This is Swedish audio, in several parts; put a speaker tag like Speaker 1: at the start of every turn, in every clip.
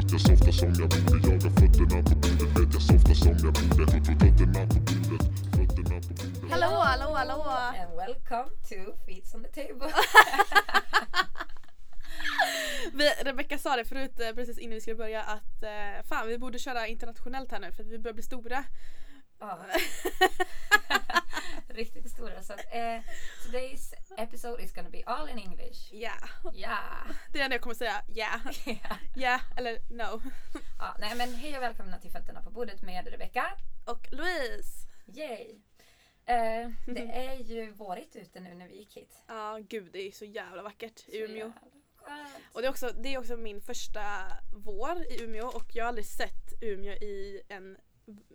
Speaker 1: som jag borde Jagar fötterna på bordet Vet jag softar som jag borde Fötterna på bordet Fötterna på bordet
Speaker 2: Hallå, hallå, hallå!
Speaker 3: And welcome to Feets on the table.
Speaker 4: Vi, Rebecca sa det förut eh, precis innan vi skulle börja att eh, fan vi borde köra internationellt här nu för att vi börjar bli stora.
Speaker 3: Ja. Riktigt stora. Så att, eh, today's episode is gonna be all in English.
Speaker 4: Yeah.
Speaker 3: Yeah.
Speaker 4: Det är det jag kommer säga. Yeah. Yeah eller no.
Speaker 3: ja, nej men hej och välkomna till Fötterna på bordet med Rebecca.
Speaker 4: Och Louise.
Speaker 3: Yay! Eh, det är ju vårigt ute nu när vi gick hit.
Speaker 4: Ja gud det är så jävla vackert
Speaker 3: Så
Speaker 4: i Umeå.
Speaker 3: jävla skönt.
Speaker 4: Och det är, också, det är också min första vår i Umeå och jag har aldrig sett Umeå i, en,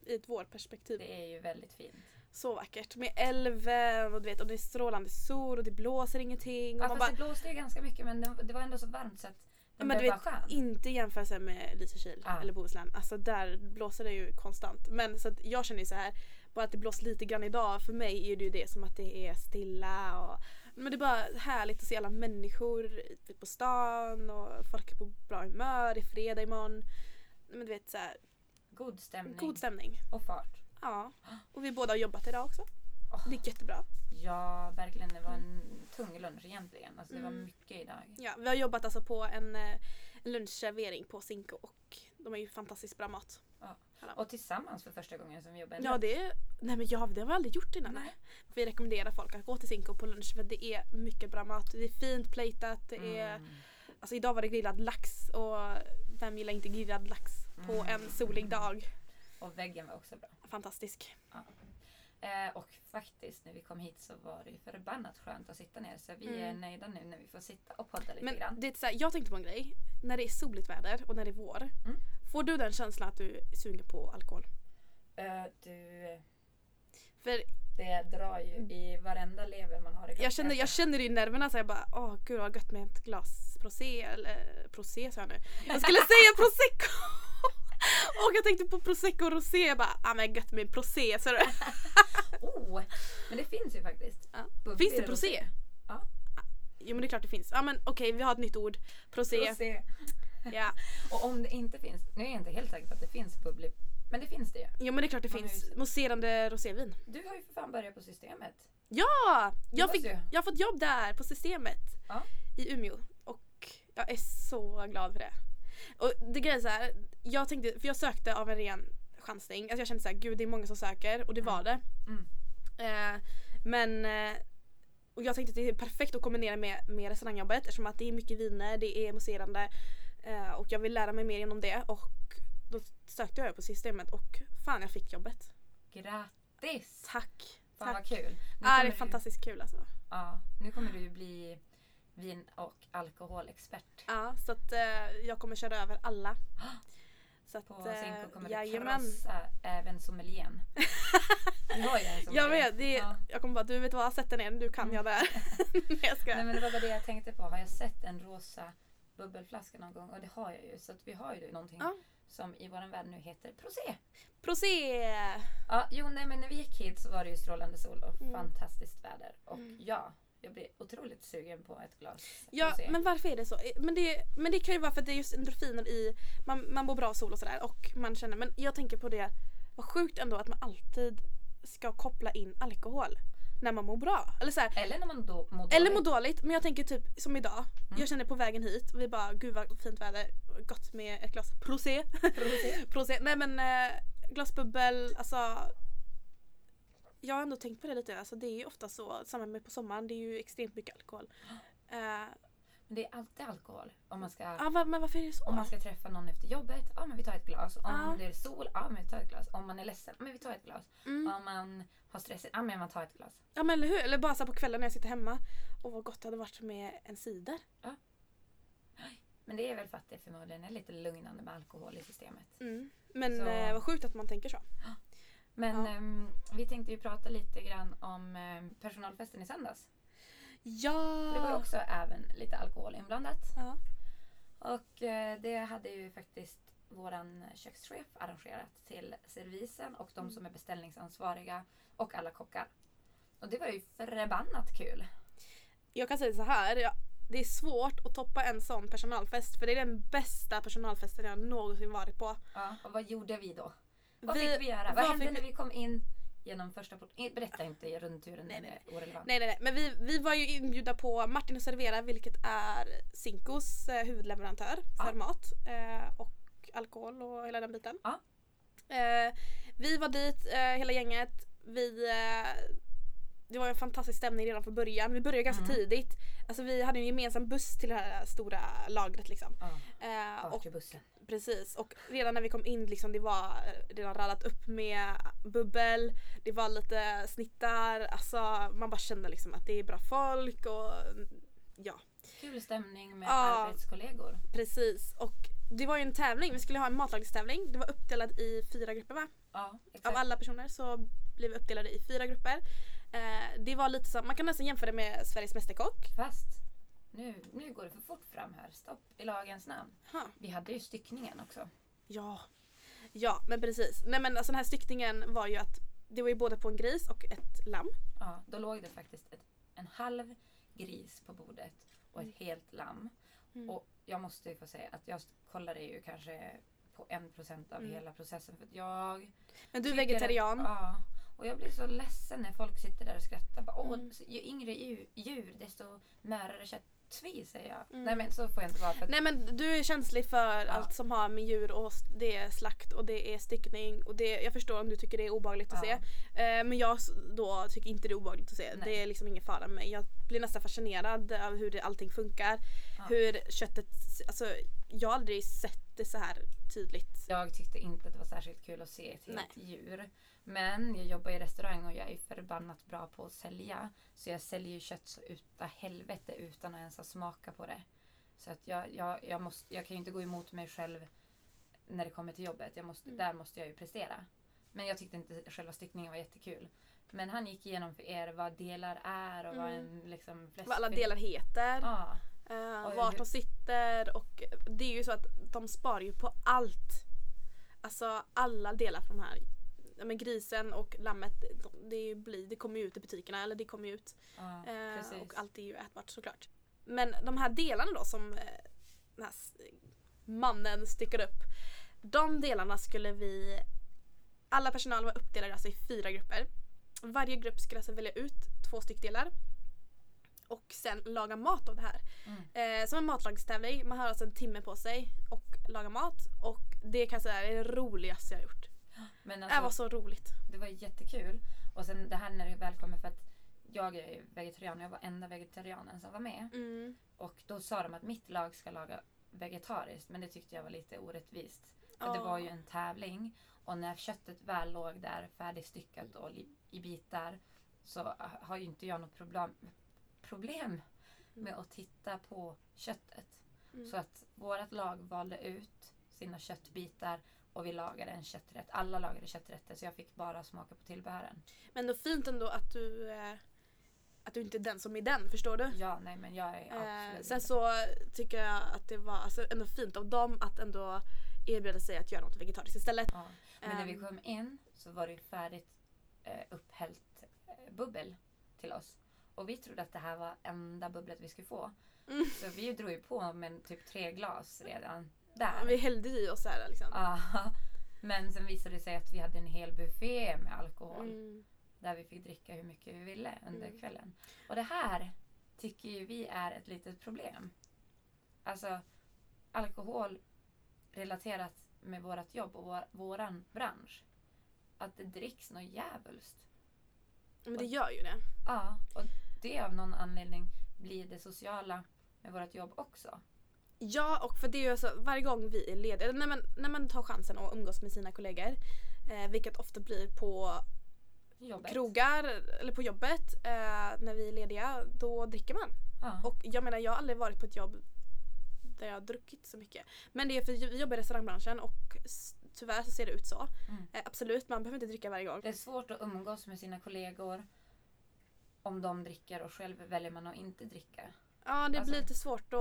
Speaker 4: i ett vårperspektiv.
Speaker 3: Det är ju väldigt fint.
Speaker 4: Så vackert. Med älven och du vet och det är strålande sol och det blåser ingenting. Och
Speaker 3: Ja,
Speaker 4: man
Speaker 3: fast
Speaker 4: bara,
Speaker 3: det blåste ju ganska mycket men det, det var ändå så varmt så att
Speaker 4: Ja,
Speaker 3: det
Speaker 4: men
Speaker 3: blev
Speaker 4: du
Speaker 3: bara
Speaker 4: vet,
Speaker 3: skönt.
Speaker 4: inte i jämförelse med Lysekil
Speaker 3: Ja.
Speaker 4: eller Bohuslän. Alltså där blåser det ju konstant. Men så att jag känner ju så här, bara att det blåser lite grann idag, för mig är det ju det som att det är stilla och men det är bara härligt att se alla människor typ på stan och folk är på bra humör, det är fredag imorgon. Men du vet så här,
Speaker 3: God stämning
Speaker 4: god stämning.
Speaker 3: och fart.
Speaker 4: Ja. Och vi båda har jobbat idag också.
Speaker 3: Åh.
Speaker 4: Det gick jättebra.
Speaker 3: Ja, verkligen. Det var en tung lunch egentligen. Alltså, det var
Speaker 4: Mm.
Speaker 3: mycket idag.
Speaker 4: Ja, vi har jobbat alltså på en, eh, en lunchservering på Cinco och de har ju fantastiskt bra mat.
Speaker 3: Och tillsammans för första gången som vi jobbade.
Speaker 4: Ja det, nej men jag, det har vi aldrig gjort innan.
Speaker 3: Nej.
Speaker 4: Vi rekommenderar folk att gå till Cinco på lunch för det är mycket bra mat. Det är fint platat. Det är,
Speaker 3: Mm.
Speaker 4: alltså idag var det grillad lax och vem gillar inte grillad lax på
Speaker 3: Mm.
Speaker 4: en solig dag?
Speaker 3: Och väggen var också bra.
Speaker 4: Fantastisk.
Speaker 3: Eh, och faktiskt när vi kom hit så var det ju förbannat skönt att sitta ner. Så vi är
Speaker 4: Mm.
Speaker 3: nöjda nu när vi får sitta och podda lite
Speaker 4: Men
Speaker 3: grann.
Speaker 4: det är så här, jag tänkte på en grej. När det är soligt väder och när det är vår.
Speaker 3: Mm.
Speaker 4: Får du den känslan att du är sugen på alkohol?
Speaker 3: Eh, du,
Speaker 4: För
Speaker 3: det drar ju i varenda lever man har i kroppen.
Speaker 4: Mm. jag känner, jag känner det i nerverna så jag bara åh gud vad gött med ett glas prosé eller prosé sa jag nu. Jag skulle säga prosecco! Och jag tänkte på prosecco och rosé, jag bara ah men gött med prosé så det.
Speaker 3: Oh, men det finns ju faktiskt.
Speaker 4: Ja.
Speaker 3: Bubbel
Speaker 4: Finns det
Speaker 3: och
Speaker 4: prosé?
Speaker 3: Ja.
Speaker 4: Jo men det är klart det finns. Ja men okej vi har ett nytt ord. Prosé.
Speaker 3: Rosé.
Speaker 4: Ja.
Speaker 3: Och om det inte finns, nu är jag inte helt säker på att det finns bubblig, men det finns det ju.
Speaker 4: Jo men det är klart det
Speaker 3: Man har ju
Speaker 4: finns.
Speaker 3: sett.
Speaker 4: Mousserande rosévin.
Speaker 3: Du har ju för fan börjat på systemet.
Speaker 4: Ja! Jag,
Speaker 3: måste
Speaker 4: fick,
Speaker 3: ju.
Speaker 4: jag har fått jobb där på systemet.
Speaker 3: Ja.
Speaker 4: I Umeå. Och jag är så glad för det. Och det grejen är så här, jag tänkte, för jag sökte av en ren chansning. Alltså jag kände så här, gud det är många som söker och det var det.
Speaker 3: Mm.
Speaker 4: Eh, men eh, och jag tänkte att det är perfekt att kombinera med, med restaurangjobbet eftersom att det är mycket viner, det är mousserande eh, och jag vill lära mig mer inom det och då sökte jag på systemet och fan jag fick jobbet.
Speaker 3: Grattis!
Speaker 4: Tack!
Speaker 3: Fan
Speaker 4: Tack.
Speaker 3: vad kul. Nu
Speaker 4: Ja, det är
Speaker 3: kommer du,
Speaker 4: fantastiskt kul alltså.
Speaker 3: ja, nu kommer du ju bli vin och alkoholexpert.
Speaker 4: Ja, så att eh, jag kommer köra över alla. Så att,
Speaker 3: På
Speaker 4: eh,
Speaker 3: Zinco kommer du
Speaker 4: jajamän.
Speaker 3: krossa även sommeliern. Du har ju en sommelier.
Speaker 4: Jag vet, det,
Speaker 3: Ja. Mm.
Speaker 4: jag kommer bara du vet vad, sätt den ner, du kan jag det här. Nej jag ska.
Speaker 3: Nej men det var bara det jag tänkte på. Har jag sett en rosa bubbelflaska någon gång? Och det har jag ju. Så att vi har ju någonting
Speaker 4: Ja.
Speaker 3: som i vår värld nu heter prosé.
Speaker 4: Prosé!
Speaker 3: Ja, jo nej men när vi gick hit så var det ju strålande sol och
Speaker 4: Mm.
Speaker 3: fantastiskt väder. Och ja, jag blir otroligt sugen på ett glas
Speaker 4: Ja
Speaker 3: prosé.
Speaker 4: men varför är det så? Eh, Men det, men det kan ju vara för att det är just endorfiner i, man, man mår bra av sol och sådär och man känner, men jag tänker på det, vad sjukt ändå att man alltid ska koppla in alkohol när man mår bra. Eller så här,
Speaker 3: Eller när man då mår
Speaker 4: Eller
Speaker 3: dåligt.
Speaker 4: må dåligt, men jag tänker typ som idag.
Speaker 3: Mm.
Speaker 4: Jag kände på vägen hit, vi bara gud vad fint väder, gott med ett glas prosé.
Speaker 3: Prosé.
Speaker 4: prosé. Nej men eh, glas bubbel, alltså. Jag har ändå tänkt på det lite, alltså det är ju ofta så, samma med på sommaren, det är ju extremt mycket alkohol. Eh,
Speaker 3: Men det är alltid alkohol. Om man ska,
Speaker 4: ja, va- men varför är det så?
Speaker 3: om man ska träffa någon efter jobbet, ja men vi tar ett glas. Om
Speaker 4: Ja.
Speaker 3: det är sol, ja men vi tar ett glas. Om man är ledsen, ja men vi tar ett glas.
Speaker 4: Mm.
Speaker 3: Om man har stress, ja men man tar ett glas.
Speaker 4: Ja men eller hur, eller bara så här på kvällen när jag sitter hemma. Och vad gott det hade varit med en cider.
Speaker 3: Men det är väl för att det förmodligen är lite lugnande med alkohol i systemet.
Speaker 4: Mm. Men
Speaker 3: Så-
Speaker 4: eh, vad sjukt att man tänker så.
Speaker 3: Men
Speaker 4: Ja.
Speaker 3: ehm, vi tänkte ju prata lite grann om ehm, personalfesten i söndags.
Speaker 4: Ja!
Speaker 3: Det var ju också även lite alkohol inblandat.
Speaker 4: ja.
Speaker 3: Och eh, det hade ju faktiskt våran kökschef arrangerat till servisen och
Speaker 4: Mm.
Speaker 3: de som är beställningsansvariga och alla kockar. Och det var ju förbannat kul.
Speaker 4: Jag kan säga så här. Jag, det är svårt att toppa en sån personalfest för det är den bästa personalfesten jag någonsin varit på.
Speaker 3: Ja, och vad gjorde vi då? Vad
Speaker 4: Vi-
Speaker 3: fick vi göra? Vad,
Speaker 4: vad
Speaker 3: hände
Speaker 4: fick
Speaker 3: när vi kom in genom första porten? Berätta inte rundturen,
Speaker 4: Nej,
Speaker 3: den
Speaker 4: nej,
Speaker 3: är orelevant.
Speaker 4: Nej nej nej, men vi, vi var ju inbjudna på Martin och Servera vilket är Zinkos eh, huvudleverantör för
Speaker 3: Ja.
Speaker 4: mat eh, och alkohol och hela den biten.
Speaker 3: Ja.
Speaker 4: Eh, vi var dit, eh, hela gänget. Vi, eh, det var en fantastisk stämning redan från början. Vi började ganska
Speaker 3: Mm.
Speaker 4: tidigt. Alltså vi hade en gemensam buss till det här stora lagret liksom.
Speaker 3: Ja,
Speaker 4: Eh, och
Speaker 3: partybussen.
Speaker 4: Precis och redan när vi kom in liksom det var redan radat upp med bubbel, det var lite snittar, alltså man bara kände liksom att det är bra folk och mm, ja
Speaker 3: Kul stämning med
Speaker 4: Ja.
Speaker 3: arbetskollegor.
Speaker 4: precis och det var ju en tävling, vi skulle ha en matlagningstävling, det var uppdelat i fyra grupper va?
Speaker 3: Ja, exakt.
Speaker 4: Av alla personer så blev vi uppdelade i fyra grupper. Eh, det var lite som, man kan nästan jämföra det med Sveriges Mästerkock.
Speaker 3: Fast nu, nu går det för fort fram här. Stopp i lagens namn.
Speaker 4: Ha.
Speaker 3: Vi hade ju styckningen också.
Speaker 4: Ja. Ja men precis, nej men alltså den här styckningen var ju att det var ju både på en gris och ett lamm.
Speaker 3: Ja, då låg det faktiskt ett, en halv gris på bordet och ett
Speaker 4: Mm.
Speaker 3: helt lamm.
Speaker 4: Mm.
Speaker 3: Och jag måste ju få säga att jag kollade ju kanske på en procent av
Speaker 4: Mm.
Speaker 3: hela processen för att jag
Speaker 4: Men du är
Speaker 3: tycker
Speaker 4: vegetarian.
Speaker 3: Att, ja. Och jag blir så ledsen när folk sitter där och skrattar. Bara, Åh,
Speaker 4: Mm.
Speaker 3: så ju yngre djur, djur desto mörare kött. Tvi, säger jag.
Speaker 4: Mm.
Speaker 3: Nej men så får jag inte vara. För att,
Speaker 4: Nej men du är känslig för allt som har med djur och s- det är slakt och det är styckning och det, jag förstår om du tycker det är obehagligt att
Speaker 3: Ja.
Speaker 4: se. Eh, men jag s- då tycker inte det är obehagligt att se.
Speaker 3: Nej.
Speaker 4: Det är liksom ingen fara med mig. Jag blir nästan fascinerad av hur det, allting funkar.
Speaker 3: Ja.
Speaker 4: Hur köttet, alltså jag har aldrig sett det så här tydligt.
Speaker 3: Jag tyckte inte att det var särskilt kul att se ett helt djur. Men jag jobbar i restaurang och jag är förbannat bra på att sälja. Så jag säljer ju kött så uta helvete utan att ens ha smaka på det. Så att jag, jag, jag, måste, jag kan ju inte gå emot mig själv när det kommer till jobbet. Jag måste,
Speaker 4: Mm.
Speaker 3: Där måste jag ju prestera. Men jag tyckte inte själva styckningen var jättekul. Men han gick igenom för er vad delar är och vad en liksom
Speaker 4: Mm. Vad alla
Speaker 3: fläskfilé-
Speaker 4: delar heter,
Speaker 3: Ja,
Speaker 4: eh,
Speaker 3: Oj,
Speaker 4: vart
Speaker 3: hur-
Speaker 4: de sitter och det är ju så att de sparar ju på allt. Alltså alla delar från de här ja, men grisen och lammet, de- det, är ju bli, det kommer ju ut i butikerna. Eller det kommer ju ut.
Speaker 3: ja
Speaker 4: Eh,
Speaker 3: precis.
Speaker 4: och allt är ju ätbart såklart. Men de här delarna då som eh, den här s- mannen stycker upp. De delarna skulle vi... Alla personal var uppdelade alltså i fyra grupper. Varje grupp skulle alltså välja ut två styckdelar och sen laga mat av det här.
Speaker 3: Mm.
Speaker 4: Eh, som en matlagningstävling. Man har alltså en timme på sig och laga mat. Och det kan jag säga är det roligaste jag har gjort.
Speaker 3: Men
Speaker 4: det här var så roligt.
Speaker 3: Det var jättekul. Och sen det här när det väl kommer för att jag är ju vegetarian och jag var enda vegetarianen som var med.
Speaker 4: Mm.
Speaker 3: Och då sa de att mitt lag ska laga vegetariskt men det tyckte jag var lite orättvist. För det
Speaker 4: Ja.
Speaker 3: var ju en tävling och när köttet väl låg där färdigstyckat och li- i bitar så har ju inte jag något problem, problem med att titta på köttet.
Speaker 4: Mm.
Speaker 3: Så att vårt lag valde ut sina köttbitar och vi lagade en kötträtt. Alla lagade kötträtter så jag fick bara smaka på tillbehören.
Speaker 4: Men då fint ändå att du, eh, att du inte är den som är den, förstår du?
Speaker 3: Ja, nej men jag är absolut
Speaker 4: Eh,
Speaker 3: inte-
Speaker 4: sen så tycker jag att det var alltså, ändå fint av dem att ändå erbjuda sig att göra något vegetariskt istället.
Speaker 3: ja. Men när vi
Speaker 4: ehm.
Speaker 3: kom in så var det ju färdigt eh, upphällt eh, bubbel till oss. Och vi trodde att det här var enda bubblet vi skulle få.
Speaker 4: Mm.
Speaker 3: Så vi drog ju på med typ tre glas redan
Speaker 4: Och Vi
Speaker 3: där.
Speaker 4: hällde i oss så här liksom.
Speaker 3: Ja. Men sen visade det sig att vi hade en hel buffé med alkohol.
Speaker 4: Mm.
Speaker 3: Där vi fick dricka hur mycket vi ville under
Speaker 4: Mm.
Speaker 3: kvällen. Och det här tycker ju vi är ett litet problem. Alltså alkohol relaterat med vårt jobb och vår, våran bransch. Att det dricks något djävulskt.
Speaker 4: Men det gör ju det.
Speaker 3: Ja, och det av någon anledning blir det sociala med vårt jobb också.
Speaker 4: Ja, och för det är ju alltså varje gång vi är lediga, eller när man, när man tar chansen att umgås med sina kollegor, eh, vilket ofta blir på
Speaker 3: Jobbet.
Speaker 4: krogar eller på jobbet, eh, när vi är lediga, då dricker man.
Speaker 3: Ja.
Speaker 4: Och jag menar jag har aldrig varit på ett jobb där jag har druckit så mycket. Men det är för vi jobbar i restaurangbranschen och s- tyvärr så ser det ut så.
Speaker 3: Mm.
Speaker 4: Eh, absolut, man behöver inte dricka varje gång.
Speaker 3: Det är svårt att umgås med sina kollegor om de dricker och själv väljer man att inte dricka.
Speaker 4: Ja, det
Speaker 3: Alltså-
Speaker 4: blir lite svårt och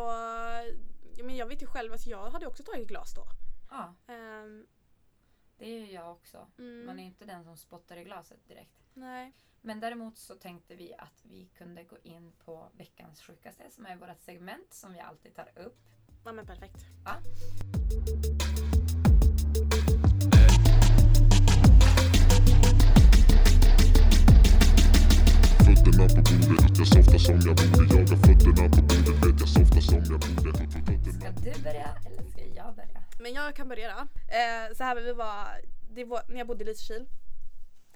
Speaker 4: ja, men jag vet ju själv att jag hade också tagit glas då.
Speaker 3: Ja.
Speaker 4: Ehm,
Speaker 3: Det är ju jag också.
Speaker 4: Mm.
Speaker 3: Man är ju inte den som spottar i glaset direkt.
Speaker 4: Nej.
Speaker 3: Men däremot så tänkte vi att vi kunde gå in på veckans sjukaste som är vårt segment som vi alltid tar upp.
Speaker 4: Ja men perfekt.
Speaker 1: Fötterna på bordet, jag softar som jag borde Jag har fötterna på bordet, vet jag softar som jag borde Fötterna
Speaker 3: Ska du börja eller ska jag börja?
Speaker 4: Men jag kan börja då. Eh, så här vi var, det var när jag bodde i Lysekil.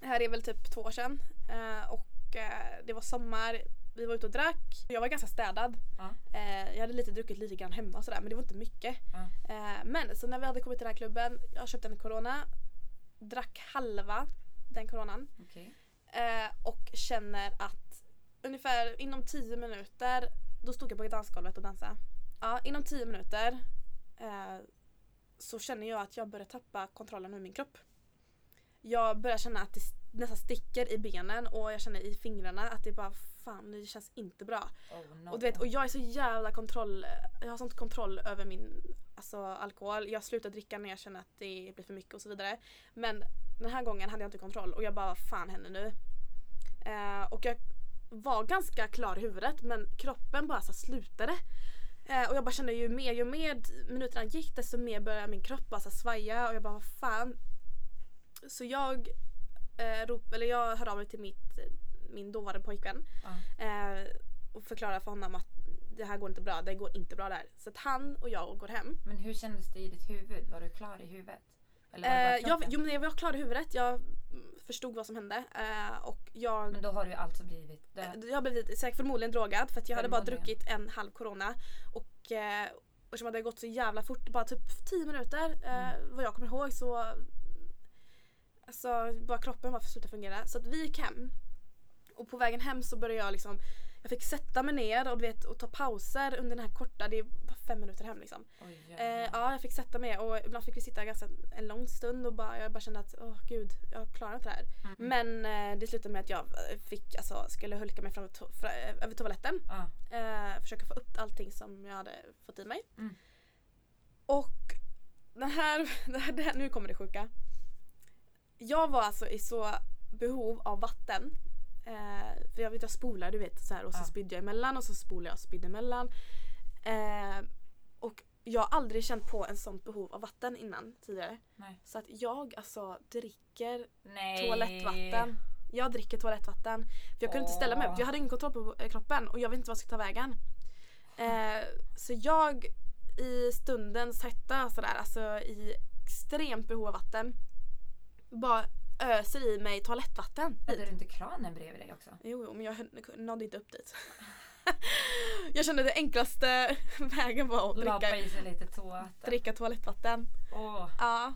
Speaker 4: Det här är väl typ två år sedan. Eh, och eh, det var sommar, vi var ute och drack. Jag var ganska städad.
Speaker 3: Ja.
Speaker 4: Eh, jag hade lite druckit lite grann hemma och sådär men det var inte mycket.
Speaker 3: Ja.
Speaker 4: Eh, men så när vi hade kommit till den här klubben, jag köpte en corona. Drack halva den coronan.
Speaker 3: Okej.
Speaker 4: Eh, och känner att ungefär inom 10 minuter, då stod jag på dansgolvet och dansade. Ja, inom 10 minuter eh, så känner jag att jag börjar tappa kontrollen över min kropp. Jag börjar känna att det s- nästan sticker i benen och jag känner i fingrarna att det bara fan det känns inte bra.
Speaker 3: Oh no.
Speaker 4: Och, du vet, och jag är så jävla kontroll, jag har sånt kontroll över min alltså, alkohol. Jag slutar dricka när jag känner att det blir för mycket och så vidare. Men den här gången hade jag inte kontroll och jag bara vad fan händer nu? Eh, och jag var ganska klar i huvudet men kroppen bara så här, slutade. Eh, och jag bara kände ju mer, ju mer minuterna gick desto mer började min kropp bara så här, svaja och jag bara vad fan. Så jag eh, rop, eller jag hörde av mig till mitt, min dåvarande pojkvän
Speaker 3: Ja.
Speaker 4: Eh, och förklara för honom att det här går inte bra, det går inte bra där. Så att han och jag går hem.
Speaker 3: Men hur kändes det i ditt huvud? Var du klar i huvudet? Eller var det bara
Speaker 4: Eh, jag,
Speaker 3: kroppen?
Speaker 4: jo, men jag var klar i huvudet, jag mm, förstod vad som hände. Eh, och jag,
Speaker 3: Men då har du ju alltså blivit död.
Speaker 4: Eh, jag blev lite- säkert förmodligen drogad för att jag hade bara
Speaker 3: Förmodligen.
Speaker 4: druckit en halv corona. Och eh, och som hade gått så jävla fort, bara typ 10 minuter eh, vad jag kommer ihåg så Alltså bara kroppen bara slutade fungera. Så att vi gick hem. Och på vägen hem så började jag liksom Jag fick sätta mig ner och, du vet, och ta pauser under den här korta, det är bara fem minuter hem liksom.
Speaker 3: Oj,
Speaker 4: Eh,
Speaker 3: jävlar.
Speaker 4: ja, jag fick sätta mig och ibland fick vi sitta ganska en lång stund och bara, jag bara kände att åh gud, jag klarar inte det här.
Speaker 3: Mm.
Speaker 4: Men eh, det slutade med att jag eh, fick, alltså, skulle hulka mig fram to- fra, eh, över toaletten.
Speaker 3: Ja.
Speaker 4: Eh, försöka få upp allting som jag hade fått i mig.
Speaker 3: Mm.
Speaker 4: Och den här, det här, det här, nu kommer det sjuka. Jag var alltså i så behov av vatten. Eh, för jag vet jag spolar du vet så här, och så
Speaker 3: Ja.
Speaker 4: spydde jag emellan och så spolade jag och spydde emellan. Eh, och jag har aldrig känt på en sånt behov av vatten innan tidigare.
Speaker 3: Nej.
Speaker 4: Så att jag alltså dricker
Speaker 3: Nej.
Speaker 4: toalettvatten. Jag dricker toalettvatten. För jag kunde inte ställa mig upp.
Speaker 3: Åh.
Speaker 4: Jag hade ingen kontroll på eh, kroppen och jag vet inte vad jag skulle ta vägen. Eh, så jag i stundens hetta sådär, alltså i extremt behov av vatten. Bara öser i mig toalettvatten.
Speaker 3: Hade du inte kranen bredvid dig också?
Speaker 4: Jo, jo men jag hö- nådde inte upp dit. jag kände det enklaste vägen var att
Speaker 3: Lapa
Speaker 4: dricka,
Speaker 3: i sig lite toatten.
Speaker 4: dricka toalettvatten.
Speaker 3: Åh,
Speaker 4: Ja,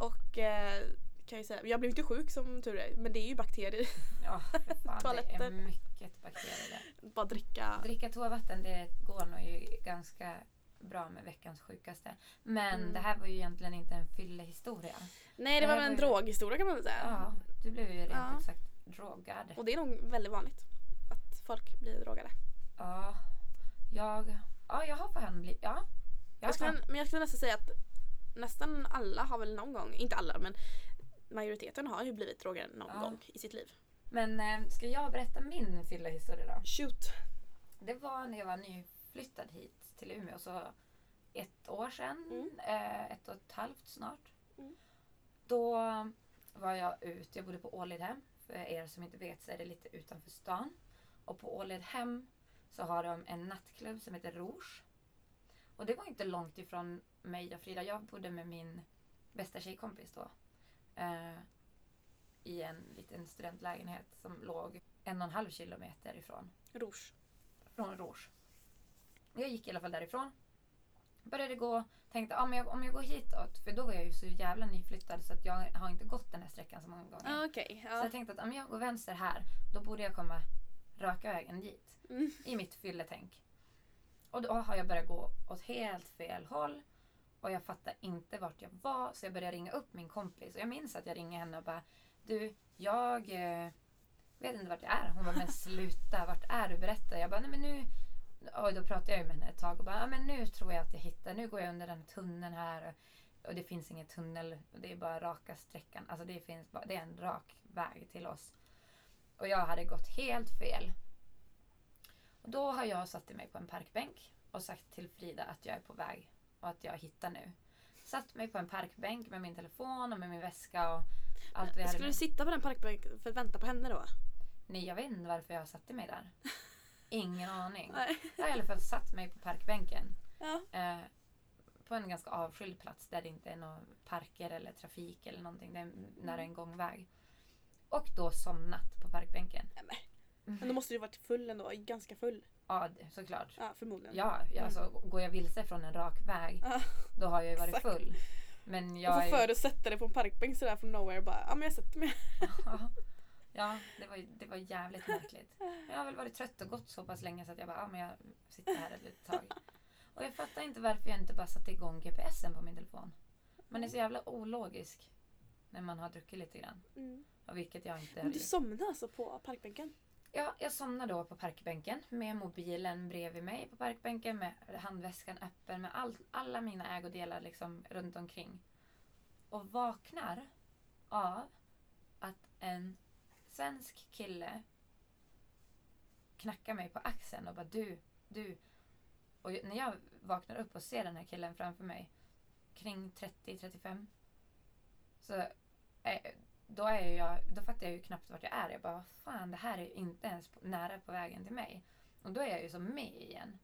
Speaker 4: och eh, kan jag ju säga, jag blev inte sjuk som tur är, men det är ju bakterier.
Speaker 3: ja, för fan, det är
Speaker 4: Toaletter.
Speaker 3: mycket bakterier där.
Speaker 4: Bara dricka.
Speaker 3: Dricka toavatten det går nog ju ganska bra med veckans sjukaste. Men
Speaker 4: Mm.
Speaker 3: det här var ju egentligen inte en fyllehistoria.
Speaker 4: Nej det var
Speaker 3: Eh,
Speaker 4: väl
Speaker 3: Det här
Speaker 4: en
Speaker 3: var ju-
Speaker 4: droghistoria kan man väl säga.
Speaker 3: Ja, du blev ju rent
Speaker 4: Ja.
Speaker 3: ut sagt drogad.
Speaker 4: Och det är nog väldigt vanligt att folk blir drogade.
Speaker 3: Ja, jag, ja, jag har fan blivit... Ja. Jag har
Speaker 4: Jag skulle,
Speaker 3: fan,
Speaker 4: men jag skulle nästan säga att nästan alla har väl någon gång, inte alla men majoriteten har ju blivit drogade någon
Speaker 3: Ja.
Speaker 4: gång i sitt liv.
Speaker 3: men eh, ska jag berätta min fyllehistoria då?
Speaker 4: Shoot!
Speaker 3: Det var när jag var nyflyttad hit till Umeå. Så ett år sedan.
Speaker 4: Mm.
Speaker 3: Eh, ett och ett halvt snart.
Speaker 4: Mm.
Speaker 3: Då var jag ute. Jag bodde på Ålidhem. För er som inte vet så är det lite utanför stan. Och på Ålidhem så har de en nattklubb som heter Rouge. Och det var inte långt ifrån mig och Frida. Jag bodde med min bästa tjejkompis då. Eh, I en liten studentlägenhet som låg en och en halv kilometer ifrån
Speaker 4: Rouge.
Speaker 3: från Rouge. Jag gick i alla fall därifrån. Började gå, tänkte ah, men jag, om jag går hitåt, för då var jag ju så jävla nyflyttad så att jag har inte gått den här sträckan så många gånger.
Speaker 4: Ah, Okej,
Speaker 3: Så
Speaker 4: ja.
Speaker 3: jag tänkte att om jag går vänster här, då borde jag komma raka vägen dit.
Speaker 4: Mm.
Speaker 3: I mitt fylletänk. Och då har jag börjat gå åt helt fel håll. Och jag fattar inte vart jag var, så jag började ringa upp min kompis. Och jag minns att jag ringde henne och bara, du, jag eh, vet inte vart jag är. Hon bara, men sluta, vart är du? Berätta. Jag bara, nej men nu... Och då pratade jag ju med henne ett tag och bara, ja, men nu tror jag att jag hittar, nu går jag under den tunneln här. Och Och det finns ingen tunnel. och Det är bara raka sträckan. Alltså det, finns bara, det är en rak väg till oss. Och jag hade gått helt fel. Och då har jag satt mig på en parkbänk och sagt till Frida att jag är på väg och att jag hittar nu. Satt mig på en parkbänk med min telefon och med min väska och allt vi hade
Speaker 4: Skulle
Speaker 3: med.
Speaker 4: du sitta på den parkbänken för att vänta på henne då?
Speaker 3: Nej, jag vet inte varför jag satte mig där. Ingen aning.
Speaker 4: Nej.
Speaker 3: Jag har i alla fall satt mig på parkbänken.
Speaker 4: Ja.
Speaker 3: Eh, på en ganska avskild plats där det inte är några parker eller trafik eller någonting. Det är nära
Speaker 4: Mm.
Speaker 3: en gångväg. Och då somnat på parkbänken.
Speaker 4: Men då måste du varit full ändå, ganska full.
Speaker 3: Ja, det- såklart.
Speaker 4: Ja, förmodligen.
Speaker 3: Ja, jag, alltså, går jag vilse från en rak väg
Speaker 4: Ja.
Speaker 3: då har jag ju varit
Speaker 4: Exakt.
Speaker 3: full. Men
Speaker 4: och
Speaker 3: jag
Speaker 4: så för
Speaker 3: är,
Speaker 4: dig att sätta dig på en parkbänk sådär från nowhere bara, ja men jag sätter mig.
Speaker 3: ja, det var, ju- det var jävligt märkligt. Men jag har väl varit trött och gått så pass länge så att jag bara, ja men jag sitter här ett litet tag. Och jag fattar inte varför jag inte bara satte igång GPSen på min telefon. Man är så jävla ologisk när man har druckit lite grann.
Speaker 4: Mm.
Speaker 3: Och vilket jag inte
Speaker 4: Men
Speaker 3: hade
Speaker 4: du
Speaker 3: gjort.
Speaker 4: somnade alltså på parkbänken?
Speaker 3: Ja, jag somnade då på parkbänken med mobilen bredvid mig på parkbänken med handväskan öppen med all, alla mina ägodelar liksom runt omkring. Och vaknar av att en svensk kille knackar mig på axeln och bara du, du. Och ju- när jag vaknar upp och ser den här killen framför mig kring 30-35 så eh, då, är jag, då fattar jag ju knappt vart jag är. Jag bara, fan det här är ju inte ens på, nära på vägen till mig. Och då är jag ju som med igen.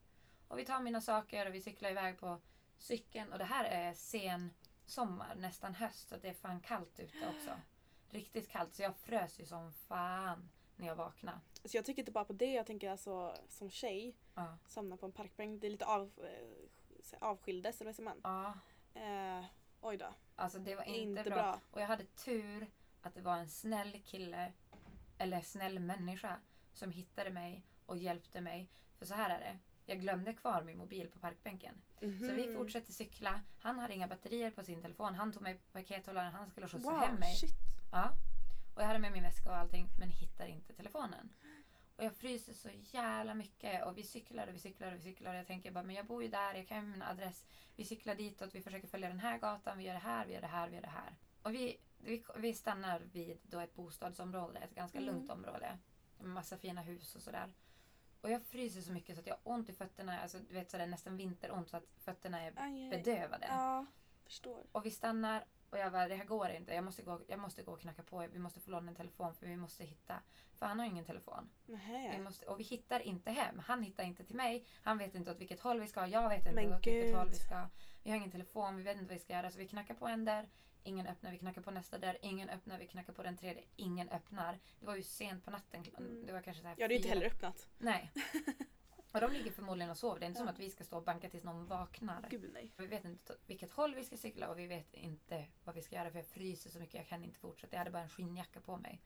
Speaker 3: Och vi tar mina saker och vi cyklar iväg på cykeln. Och det här är sen sommar, nästan höst. Så det är fan kallt ute också. Riktigt kallt. Så jag frös ju som fan när jag vaknade.
Speaker 4: Alltså jag tänker inte bara på det, jag tänker alltså som tjej,
Speaker 3: Ja.
Speaker 4: somna på en parkbänk, det är lite av, eh, avskildes eller vad säger man?
Speaker 3: ja.
Speaker 4: Eh, oj då.
Speaker 3: Alltså det var inte,
Speaker 4: Inte
Speaker 3: bra.
Speaker 4: bra.
Speaker 3: Och jag hade tur att det var en snäll kille, eller snäll människa, som hittade mig och hjälpte mig. För så här är det. Jag glömde kvar min mobil på parkbänken. Så
Speaker 4: Mm. Mhm.
Speaker 3: vi fortsatte cykla. Han hade inga batterier på sin telefon. Han tog mig på pakethållaren. Han skulle skjutsa hem mig.
Speaker 4: shit.
Speaker 3: Ja. Och jag hade med min väska och allting men hittar inte telefonen. Och jag fryser så jävla mycket och vi cyklar och vi cyklar och vi cyklar och jag tänker bara men jag bor ju där, jag kan ju min adress. Vi cyklar ditåt, vi försöker följa den här gatan, vi gör det här, vi gör det här, vi gör det här. Och vi, vi, vi stannar vid då ett bostadsområde, ett ganska
Speaker 4: Mm.
Speaker 3: lugnt område. Med massa fina hus och sådär. Och jag fryser så mycket så att jag har ont i fötterna, alltså du vet sådär nästan vinteront så att fötterna är
Speaker 4: Aj, aj, aj.
Speaker 3: bedövade.
Speaker 4: Ja, förstår.
Speaker 3: Och vi stannar och jag bara, det här går inte. Jag måste gå, jag måste gå och knacka på. Vi måste få låna en telefon för vi måste hitta. För han har ingen telefon. Vi
Speaker 4: Nähä.
Speaker 3: måste, och vi hittar inte hem. Han hittar inte till mig. Han vet inte åt vilket håll vi ska. Jag vet inte
Speaker 4: Men
Speaker 3: åt vilket
Speaker 4: gud.
Speaker 3: håll vi ska. Vi har ingen telefon. Vi vet inte vad vi ska göra. Så vi knackar på en där. Ingen öppnar. Vi knackar på nästa där. Ingen öppnar. Vi knackar på den tredje. Ingen öppnar. Det var ju sent på natten.
Speaker 4: Mm.
Speaker 3: Det var kanske så här
Speaker 4: Jag hade ju inte
Speaker 3: fyra-
Speaker 4: heller öppnat.
Speaker 3: Nej. Och de ligger förmodligen och sover. Det är inte som att vi ska stå och banka tills någon vaknar.
Speaker 4: Gud nej.
Speaker 3: Vi vet inte åt vilket håll vi ska cykla och vi vet inte vad vi ska göra för jag fryser så mycket. Jag kan inte fortsätta. Jag hade bara en skinnjacka på mig.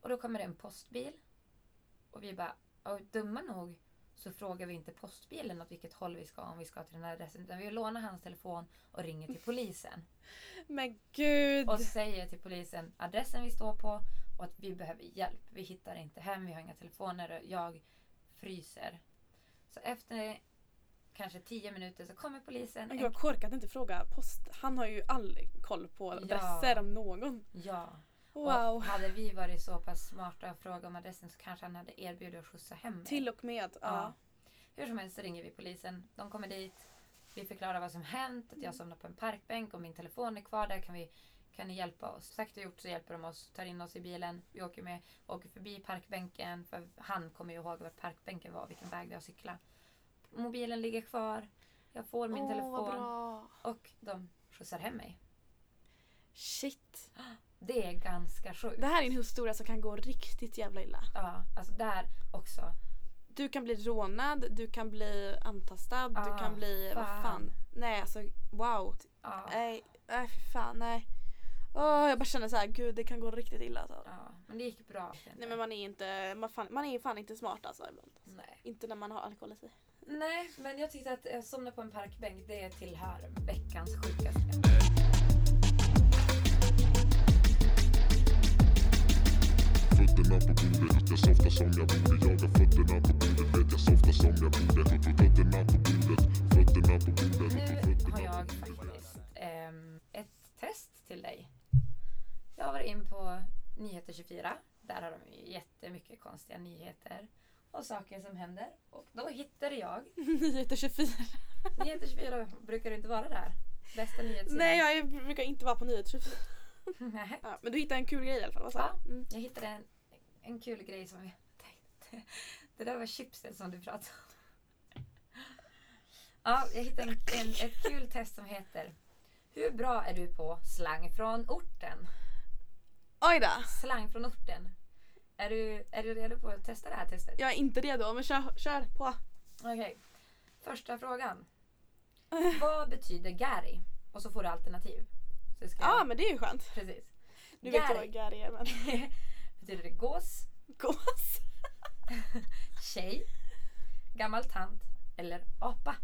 Speaker 3: Och då kommer det en postbil. Och vi bara, och dumma nog så frågar vi inte postbilen åt vilket håll vi ska om vi ska till den här adressen. Utan vi lånar hans telefon och ringer till polisen.
Speaker 4: Men gud.
Speaker 3: Och säger till polisen adressen vi står på och att vi behöver hjälp. Vi hittar inte hem, vi har inga telefoner och jag fryser. Så efter kanske 10 minuter så kommer polisen.
Speaker 4: Men
Speaker 3: en
Speaker 4: gud vad korkat att inte fråga post. Han har ju all koll på adresser om någon.
Speaker 3: Ja.
Speaker 4: Wow.
Speaker 3: Och hade vi varit så pass smarta och frågat om adressen så kanske han hade erbjudit att skjutsa hem mig.
Speaker 4: Till och med.
Speaker 3: ja.
Speaker 4: Ja.
Speaker 3: Hur som helst så ringer vi polisen. De kommer dit. Vi förklarar vad som hänt. Att jag somnade på en parkbänk och min telefon är kvar där. Kan, vi, kan ni hjälpa oss? Sagt och gjort så hjälper de oss. Tar in oss i bilen. Vi åker med. Åker förbi parkbänken. För han kommer ju ihåg var parkbänken var. Vilken väg det har cyklat. Mobilen ligger kvar. Jag får min
Speaker 4: Åh, vad
Speaker 3: telefon.
Speaker 4: bra.
Speaker 3: Och de skjutsar hem mig.
Speaker 4: Shit.
Speaker 3: Det är ganska sjukt.
Speaker 4: Det här är en historia som kan gå riktigt jävla illa.
Speaker 3: Ja, alltså där också.
Speaker 4: Du kan bli rånad, du kan bli antastad,
Speaker 3: Ah,
Speaker 4: du kan bli...
Speaker 3: fan.
Speaker 4: Vad fan. Ah. Nej alltså wow.
Speaker 3: Ja.
Speaker 4: Nej, nej fy fan nej. Åh, jag bara känner så här, gud det kan gå riktigt illa alltså.
Speaker 3: Ja, men det gick bra.
Speaker 4: Nej men man är inte, man, fan, man är fan inte smart alltså ibland.
Speaker 3: Nej.
Speaker 4: Inte när man har alkohol i sig.
Speaker 3: Nej, men jag tyckte att eh, somna på en parkbänk, det tillhör veckans sjukaste.
Speaker 1: Fötterna på bordet, jag softar som jag borde Jag har fötterna på bordet, vet jag softar som jag borde Fötterna på bordet, fötterna på bordet
Speaker 3: Nu har jag faktiskt eh, går in på Nyheter 24. Där har de ju jättemycket konstiga nyheter och saker som händer. Och då hittade jag
Speaker 4: Nyheter 24.
Speaker 3: Nyheter 24 brukar inte vara där. Bästa nyhetssidan.
Speaker 4: Nej jag är- brukar inte vara på Nyheter 24.
Speaker 3: Nej.
Speaker 4: Ja, men du hittade en kul grej i alla fall. Vad sa
Speaker 3: Ja.
Speaker 4: du? Mm.
Speaker 3: Jag hittade en, en kul grej som jag tänkte. Det där var chipset som du pratade om. Ja, jag hittade en, en, ett kul test som heter Hur bra är du på slang från orten?
Speaker 4: Oj då.
Speaker 3: Slang från orten. Är du, är du redo på att testa det här testet?
Speaker 4: Jag är inte redo men kör, kör på.
Speaker 3: Okej. Första frågan. Vad betyder Gary? Och så får du alternativ. Så ska
Speaker 4: Ja
Speaker 3: jag-
Speaker 4: ah, men det är ju skönt.
Speaker 3: Precis.
Speaker 4: Du vet
Speaker 3: Gary.
Speaker 4: vad Gary är men.
Speaker 3: Betyder det gås,
Speaker 4: Gås.
Speaker 3: tjej, gammal tant eller apa?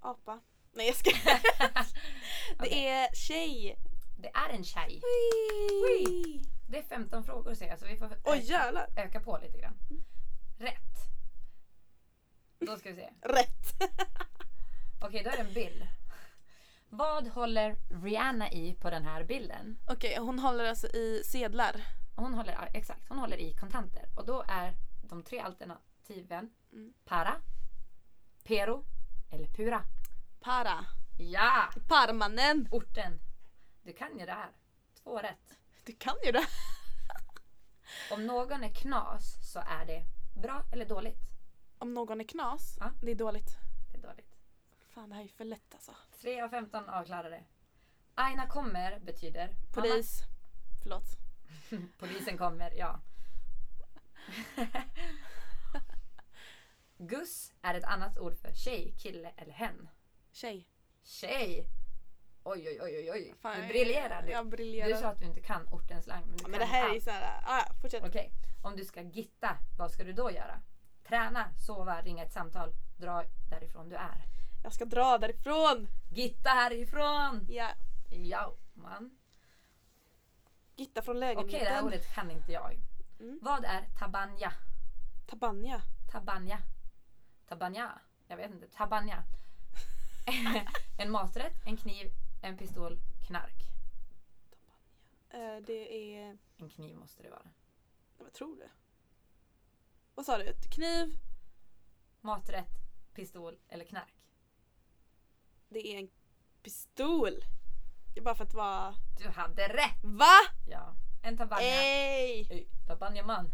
Speaker 4: Apa. Nej jag ska.
Speaker 3: Okej.
Speaker 4: Det är tjej.
Speaker 3: Det är en tjej.
Speaker 4: Ui.
Speaker 3: Det är 15 frågor ser jag så vi får
Speaker 4: Oj
Speaker 3: öka-
Speaker 4: jävlar.
Speaker 3: öka på lite grann. Rätt. Då ska vi se.
Speaker 4: Rätt.
Speaker 3: Okej, då är det en bild. Vad håller Rihanna i på den här bilden?
Speaker 4: Okej hon håller alltså i sedlar.
Speaker 3: Hon håller, exakt, hon håller i kontanter. Och då är de tre alternativen
Speaker 4: Mm.
Speaker 3: para, pero eller pura.
Speaker 4: Para.
Speaker 3: Ja!
Speaker 4: Parmanen.
Speaker 3: Orten. Du kan ju det här. Två rätt.
Speaker 4: Du kan ju det.
Speaker 3: Om någon är knas så är det bra eller dåligt.
Speaker 4: Om någon är knas.
Speaker 3: Ja.
Speaker 4: Det är dåligt.
Speaker 3: Det är dåligt.
Speaker 4: Fan det här är ju för lätt alltså.
Speaker 3: 3 av 15 avklarade. Aina kommer betyder
Speaker 4: Polis. Förlåt.
Speaker 3: mamma. Polisen kommer, ja. Guss är ett annat ord för tjej, kille eller hen.
Speaker 4: Tjej.
Speaker 3: Tjej! Oj, oj, oj, oj, oj.
Speaker 4: Fan,
Speaker 3: du
Speaker 4: jag-
Speaker 3: briljerar du.
Speaker 4: Jag
Speaker 3: Du
Speaker 4: briljerar.
Speaker 3: sa att du inte kan ortens slang, men du
Speaker 4: Ja,
Speaker 3: kan
Speaker 4: men det här är ju
Speaker 3: allt.
Speaker 4: såhär, ah, ja, fortsätt.
Speaker 3: Okej, om du ska gitta, vad ska du då göra? Träna, sova, ringa ett samtal, dra därifrån du är.
Speaker 4: Jag ska dra därifrån!
Speaker 3: Gitta härifrån!
Speaker 4: Ja.
Speaker 3: Ja, man.
Speaker 4: Gitta från
Speaker 3: Okej, det här
Speaker 4: lägenheten.
Speaker 3: ordet kan inte jag.
Speaker 4: Mm.
Speaker 3: Vad är tabanja?
Speaker 4: Tabanja.
Speaker 3: Tabanja? Tabanja? Jag vet inte. Tabanja. en maträtt, en kniv, en pistol, knark.
Speaker 4: Eh, det är...
Speaker 3: En kniv måste det vara.
Speaker 4: Vad tror du? Vad sa du? Ett Kniv.
Speaker 3: Maträtt, pistol eller knark.
Speaker 4: Det är en pistol. Det är Bara för att vara...
Speaker 3: Du hade rätt!
Speaker 4: Va?
Speaker 3: Ja. En tabanja.
Speaker 4: Ey!
Speaker 3: Ey, Tabanjaman.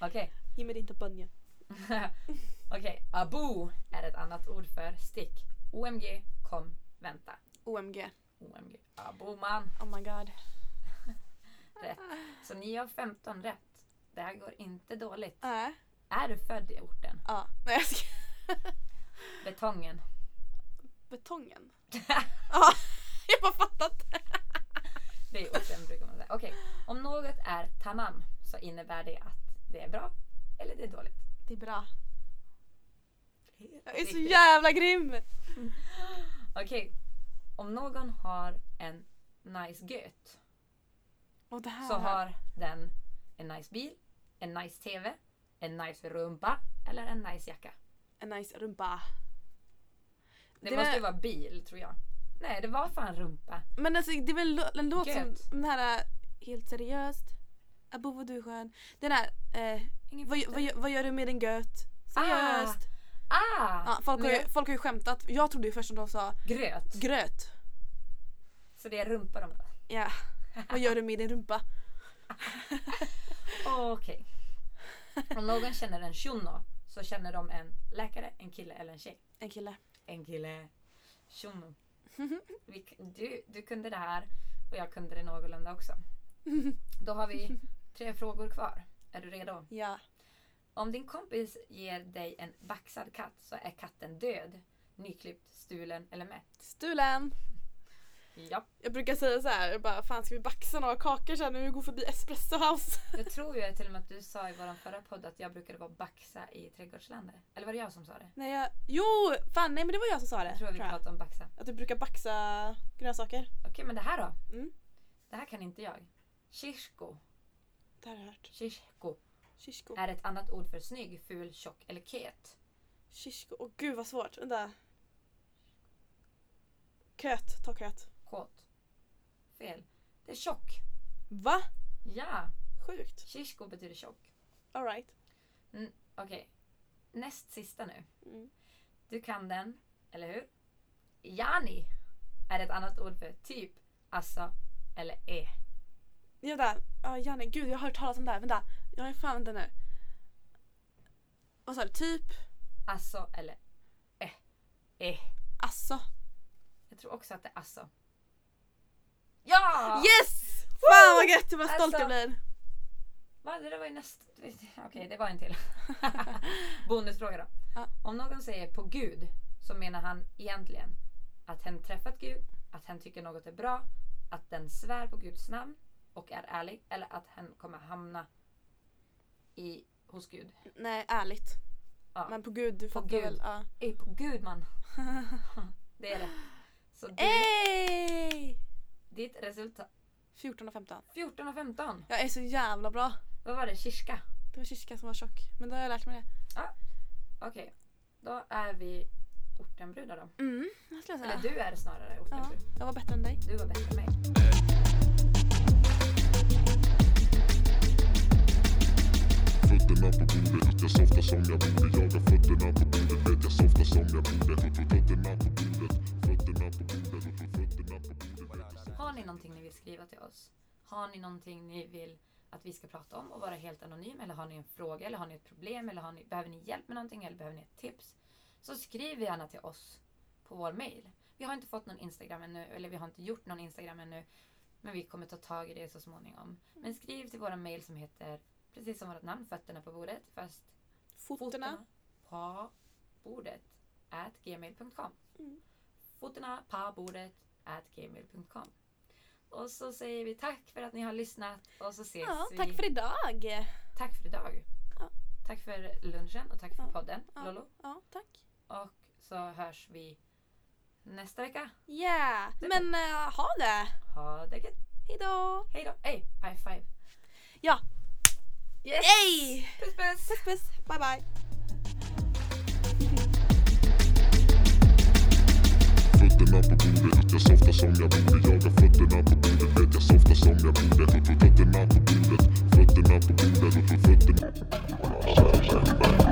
Speaker 3: Okej.
Speaker 4: Ge mig din tabanja.
Speaker 3: Okej. Abu är ett annat ord för stick. OMG, kom, vänta.
Speaker 4: OMG.
Speaker 3: OMG. Abu man.
Speaker 4: Oh my god.
Speaker 3: Rätt. Så 9 av 15 rätt. Det här går inte dåligt.
Speaker 4: Nej.
Speaker 3: Är du född i orten?
Speaker 4: Ja. Nej jag ska...
Speaker 3: Betongen.
Speaker 4: Betongen. Ja. Jag bara fattat.
Speaker 3: Det är orten brukar man säga. Okej. Om något är tamam så innebär det att det är bra eller det är dåligt.
Speaker 4: Det är bra. Jag är så
Speaker 3: Riktigt.
Speaker 4: jävla grym!
Speaker 3: Okej. Om någon har en nice göt
Speaker 4: Och det här.
Speaker 3: så har den en nice bil, en nice TV, en nice rumpa eller en nice jacka.
Speaker 4: En nice rumpa.
Speaker 3: Det,
Speaker 4: Det
Speaker 3: måste
Speaker 4: var-
Speaker 3: ju vara bil tror jag. Nej, det var fan rumpa.
Speaker 4: Men alltså det är väl en lå- en låt som,
Speaker 3: Gött.
Speaker 4: den här äh, helt seriöst. Abo vad du är skön. Den här, eh,
Speaker 3: Ingen
Speaker 4: vad,
Speaker 3: fattar.
Speaker 4: vad, vad gör du med din göt? Seriöst.
Speaker 3: Ah!
Speaker 4: Ja, folk, har
Speaker 3: Men
Speaker 4: ju,
Speaker 3: jag-
Speaker 4: folk har ju skämtat. Jag trodde ju först att de sa
Speaker 3: Gröt.
Speaker 4: gröt.
Speaker 3: Så det är rumpa de bara.
Speaker 4: Ja. vad gör du med din rumpa?
Speaker 3: Okej. Om någon känner en shuno så känner de en läkare, en kille eller en tjej.
Speaker 4: En kille.
Speaker 3: En kille. Shuno. Vi, k- du, du kunde det här och jag kunde det någorlunda också. Då har vi tre frågor kvar. Är du redo?
Speaker 4: Ja.
Speaker 3: Om din kompis ger dig en baxad katt så är katten död, nyklippt, stulen eller mätt.
Speaker 4: Stulen.
Speaker 3: Ja.
Speaker 4: Jag brukar säga så här, jag bara fan ska vi baxa några kakor sen när vi går förbi Espresso House?
Speaker 3: Jag tror ju till och med att du sa i vår förra podd att jag brukade vara baxa i trädgårdslandet. Eller var det jag som sa det?
Speaker 4: Nej jag, jo! Fan nej men det var jag som sa det.
Speaker 3: Jag tror att vi pratade om baxa.
Speaker 4: Att du brukar baxa grönsaker.
Speaker 3: Okej, men det här då?
Speaker 4: Mm.
Speaker 3: Det här kan inte jag. Shishko.
Speaker 4: Det har jag hört.
Speaker 3: Shishko
Speaker 4: Shishko.
Speaker 3: är ett annat ord för snygg, ful, tjock eller ket.
Speaker 4: Shishko. Åh gud vad svårt. Vänta. Köt. Ta köt.
Speaker 3: Kåt. Fel. Det är tjock.
Speaker 4: Va?
Speaker 3: Ja,
Speaker 4: Sjukt.
Speaker 3: shishko betyder tjock.
Speaker 4: Alright.
Speaker 3: Okej, näst sista nu.
Speaker 4: Mm.
Speaker 3: Du kan den, eller hur? Yani är ett annat ord för typ, alltså eller är.
Speaker 4: Vänta, ah, Janne, gud jag har hört talas om det här. Vänta, jag har fan den här. Vad sa du? Typ,
Speaker 3: Alltså eller eh. Eh.
Speaker 4: alltså.
Speaker 3: Jag tror också att det är alltså. Ja!
Speaker 4: Yes! Fan vad gött, vad stolt
Speaker 3: Alltså.
Speaker 4: jag blir.
Speaker 3: Va, det där var ju näst... Okej, det var en till. Bonusfråga då.
Speaker 4: Ja.
Speaker 3: Om någon säger på Gud så menar han egentligen att hen träffat Gud, att hen tycker något är bra, att den svär på Guds namn och är ärlig eller att hen kommer hamna i, hos Gud.
Speaker 4: Nej, ärligt.
Speaker 3: Ja.
Speaker 4: Men på gud, du fattar
Speaker 3: gud.
Speaker 4: väl? Ja.
Speaker 3: Ey, på Gud man! Eh. det är det. Så du,
Speaker 4: Ey!
Speaker 3: ditt resultat...
Speaker 4: 14 och 15.
Speaker 3: 14 och 15.
Speaker 4: Jag är så jävla bra.
Speaker 3: Vad var det? Kirska?
Speaker 4: Det var Kishka som var tjock. Men då har jag lärt mig
Speaker 3: Okej. Då är vi ortenbrudar då.
Speaker 4: det. Mm, det skulle jag säga.
Speaker 3: Eller du är snarare
Speaker 4: Ja,
Speaker 3: ortenbrud.
Speaker 4: jag var bättre än dig.
Speaker 3: Du var bättre än mig.
Speaker 1: Fötterna på bordet, jag softar som jag borde Jag har fötterna på bordet, vet jag softar som jag borde Fötterna på bordet, fötterna på bordet Fötterna på bordet, vet jag
Speaker 3: Har ni någonting ni vill skriva till oss? Har ni någonting ni vill att vi ska prata om och vara helt anonym? Eller har ni en fråga? Eller har ni ett problem? Eller har ni, behöver ni hjälp med någonting? Eller behöver ni ett tips? Så skriv gärna till oss på vår mail. Vi har inte fått någon Instagram ännu. Eller vi har inte gjort någon Instagram ännu. Men vi kommer ta tag i det så småningom. Men skriv till våra mail som heter precis som vårt namn, fötterna på bordet. Fast
Speaker 4: Fotorna.
Speaker 3: på bordet at gmail.com.
Speaker 4: Mm.
Speaker 3: Fotorna på bordet at gmail.com. Och så säger vi tack för att ni har lyssnat och så ses
Speaker 4: Ja,
Speaker 3: vi.
Speaker 4: tack för idag.
Speaker 3: Tack för idag.
Speaker 4: Ja.
Speaker 3: Tack för lunchen och tack för
Speaker 4: Ja.
Speaker 3: podden
Speaker 4: Ja.
Speaker 3: Lollo.
Speaker 4: Ja, tack.
Speaker 3: Och så hörs vi nästa vecka.
Speaker 4: Yeah!
Speaker 3: Det är
Speaker 4: Men eh, ha det!
Speaker 3: Ha det gött.
Speaker 4: Hejdå!
Speaker 3: Hej då. Hej, high five.
Speaker 4: Ja!
Speaker 3: Yes!
Speaker 4: Yay!
Speaker 3: Puss puss!
Speaker 4: Puss puss! Bye bye!
Speaker 1: Fötterna på bordet, jag softar som jag borde Jag har fötterna på bordet, vet jag softar som jag borde Fötterna på bordet, fötterna på bordet Fötterna på bordet